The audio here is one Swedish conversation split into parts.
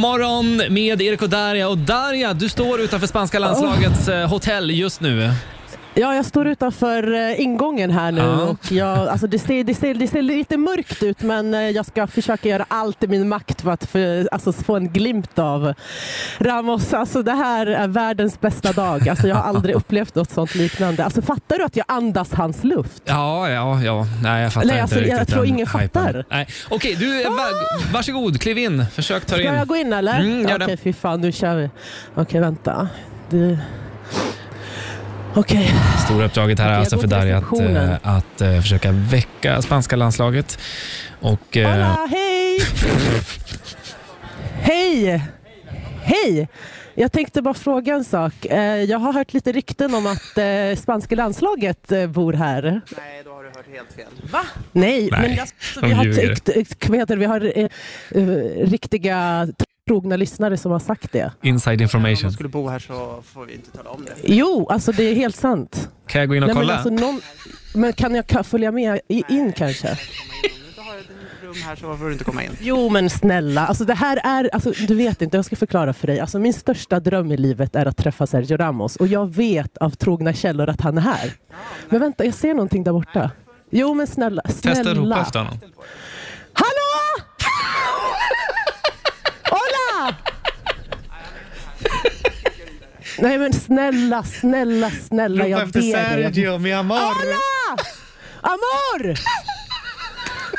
Powermorgon med Erik och Darja. Och Darja, du står utanför spanska landslagets eh, hotell just nu. Ja, jag står utanför eh, ingången här nu. Ja. Och jag, alltså det, ser, det, ser, det ser lite mörkt ut, men eh, jag ska försöka göra allt i min makt för att för, alltså, få en glimt av Ramos. Alltså, det här är världens bästa dag. Alltså, jag har aldrig upplevt något sånt liknande. Alltså, fattar du att jag andas hans luft? Ja, ja, ja. Nej, jag fattar Nej, inte alltså, jag riktigt. tror den ingen hypen. fattar. Ah! Nej. Okej, du, eh, va- varsågod. Kliv in. Försök ta dig Ska in. jag gå in eller? Mm, gör det. Okej, fy fan, nu kör vi. Okej, vänta. Du... Okej. Stora uppdraget här Okej, är jag alltså går för till Darja att, receptionen. eh, att eh, försöka väcka spanska landslaget. Och... eh, Hola, hej! hej! Hej! Jag tänkte bara fråga en sak. Eh, Jag har hört lite rykten om att eh, spanska landslaget eh, bor här. Nej, då har du hört helt fel. Va? Nej, Nej, men jag, alltså, de vi har, ljuger. tyckt- tyckt- vad heter det? vi har eh, eh, riktiga trogna lyssnare som har sagt det. Inside Om information. de skulle bo här så får vi inte tala om det. Jo, alltså det är helt sant. Kan jag gå in och Nej, men, kolla? alltså, någon, men kan jag ka- följa med i- in kanske? Om du inte har ett rum här så får du inte komma in. Jo men snälla, alltså det här är, alltså, du vet inte, jag ska förklara för dig. Alltså, min största dröm i livet är att träffa Sergio Ramos och jag vet av trogna källor att han är här. Men vänta, jag ser någonting där borta. Jo men snälla, Testa att ropa snälla. efter honom. Hallå! Hola! Nej men snälla, snälla, snälla, jag ber dig. mi amor. Hola! Amor!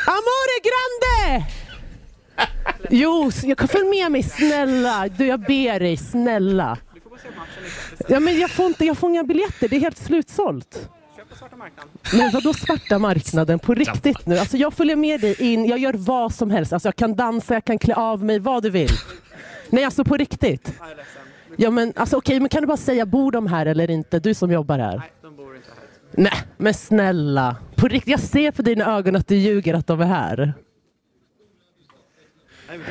Amor är grande! Jo, s- jag kan följa med mig, snälla. Du, jag ber dig, snälla. Ja, men jag får, inte, jag får inga biljetter, det är helt slutsålt. Köp på svarta marknaden. Men vadå svarta marknaden på riktigt nu? Alltså jag följer med dig in, jag gör vad som helst. Alltså jag kan dansa, jag kan klä av mig, vad du vill. Nej, alltså på riktigt. Jag är ledsen. Ja, men alltså okej, men kan du bara säga bor de här eller inte? Du som jobbar här. Nej, de bor inte här. Nej, men snälla. På riktigt, jag ser på dina ögon att du ljuger att de är här.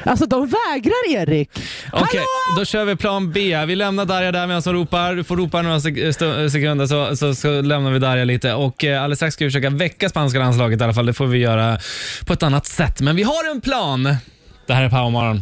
Alltså de vägrar Erik. Okej, då kör vi plan B. Vi lämnar Darja där medan som ropar. Du får ropa några sek- stu- sekunder så, så, så lämnar vi Darja lite. Och eh, alldeles strax ska vi försöka väcka spanska landslaget i alla fall. Det får vi göra på ett annat sätt. Men vi har en plan. Det här är Powermorgon.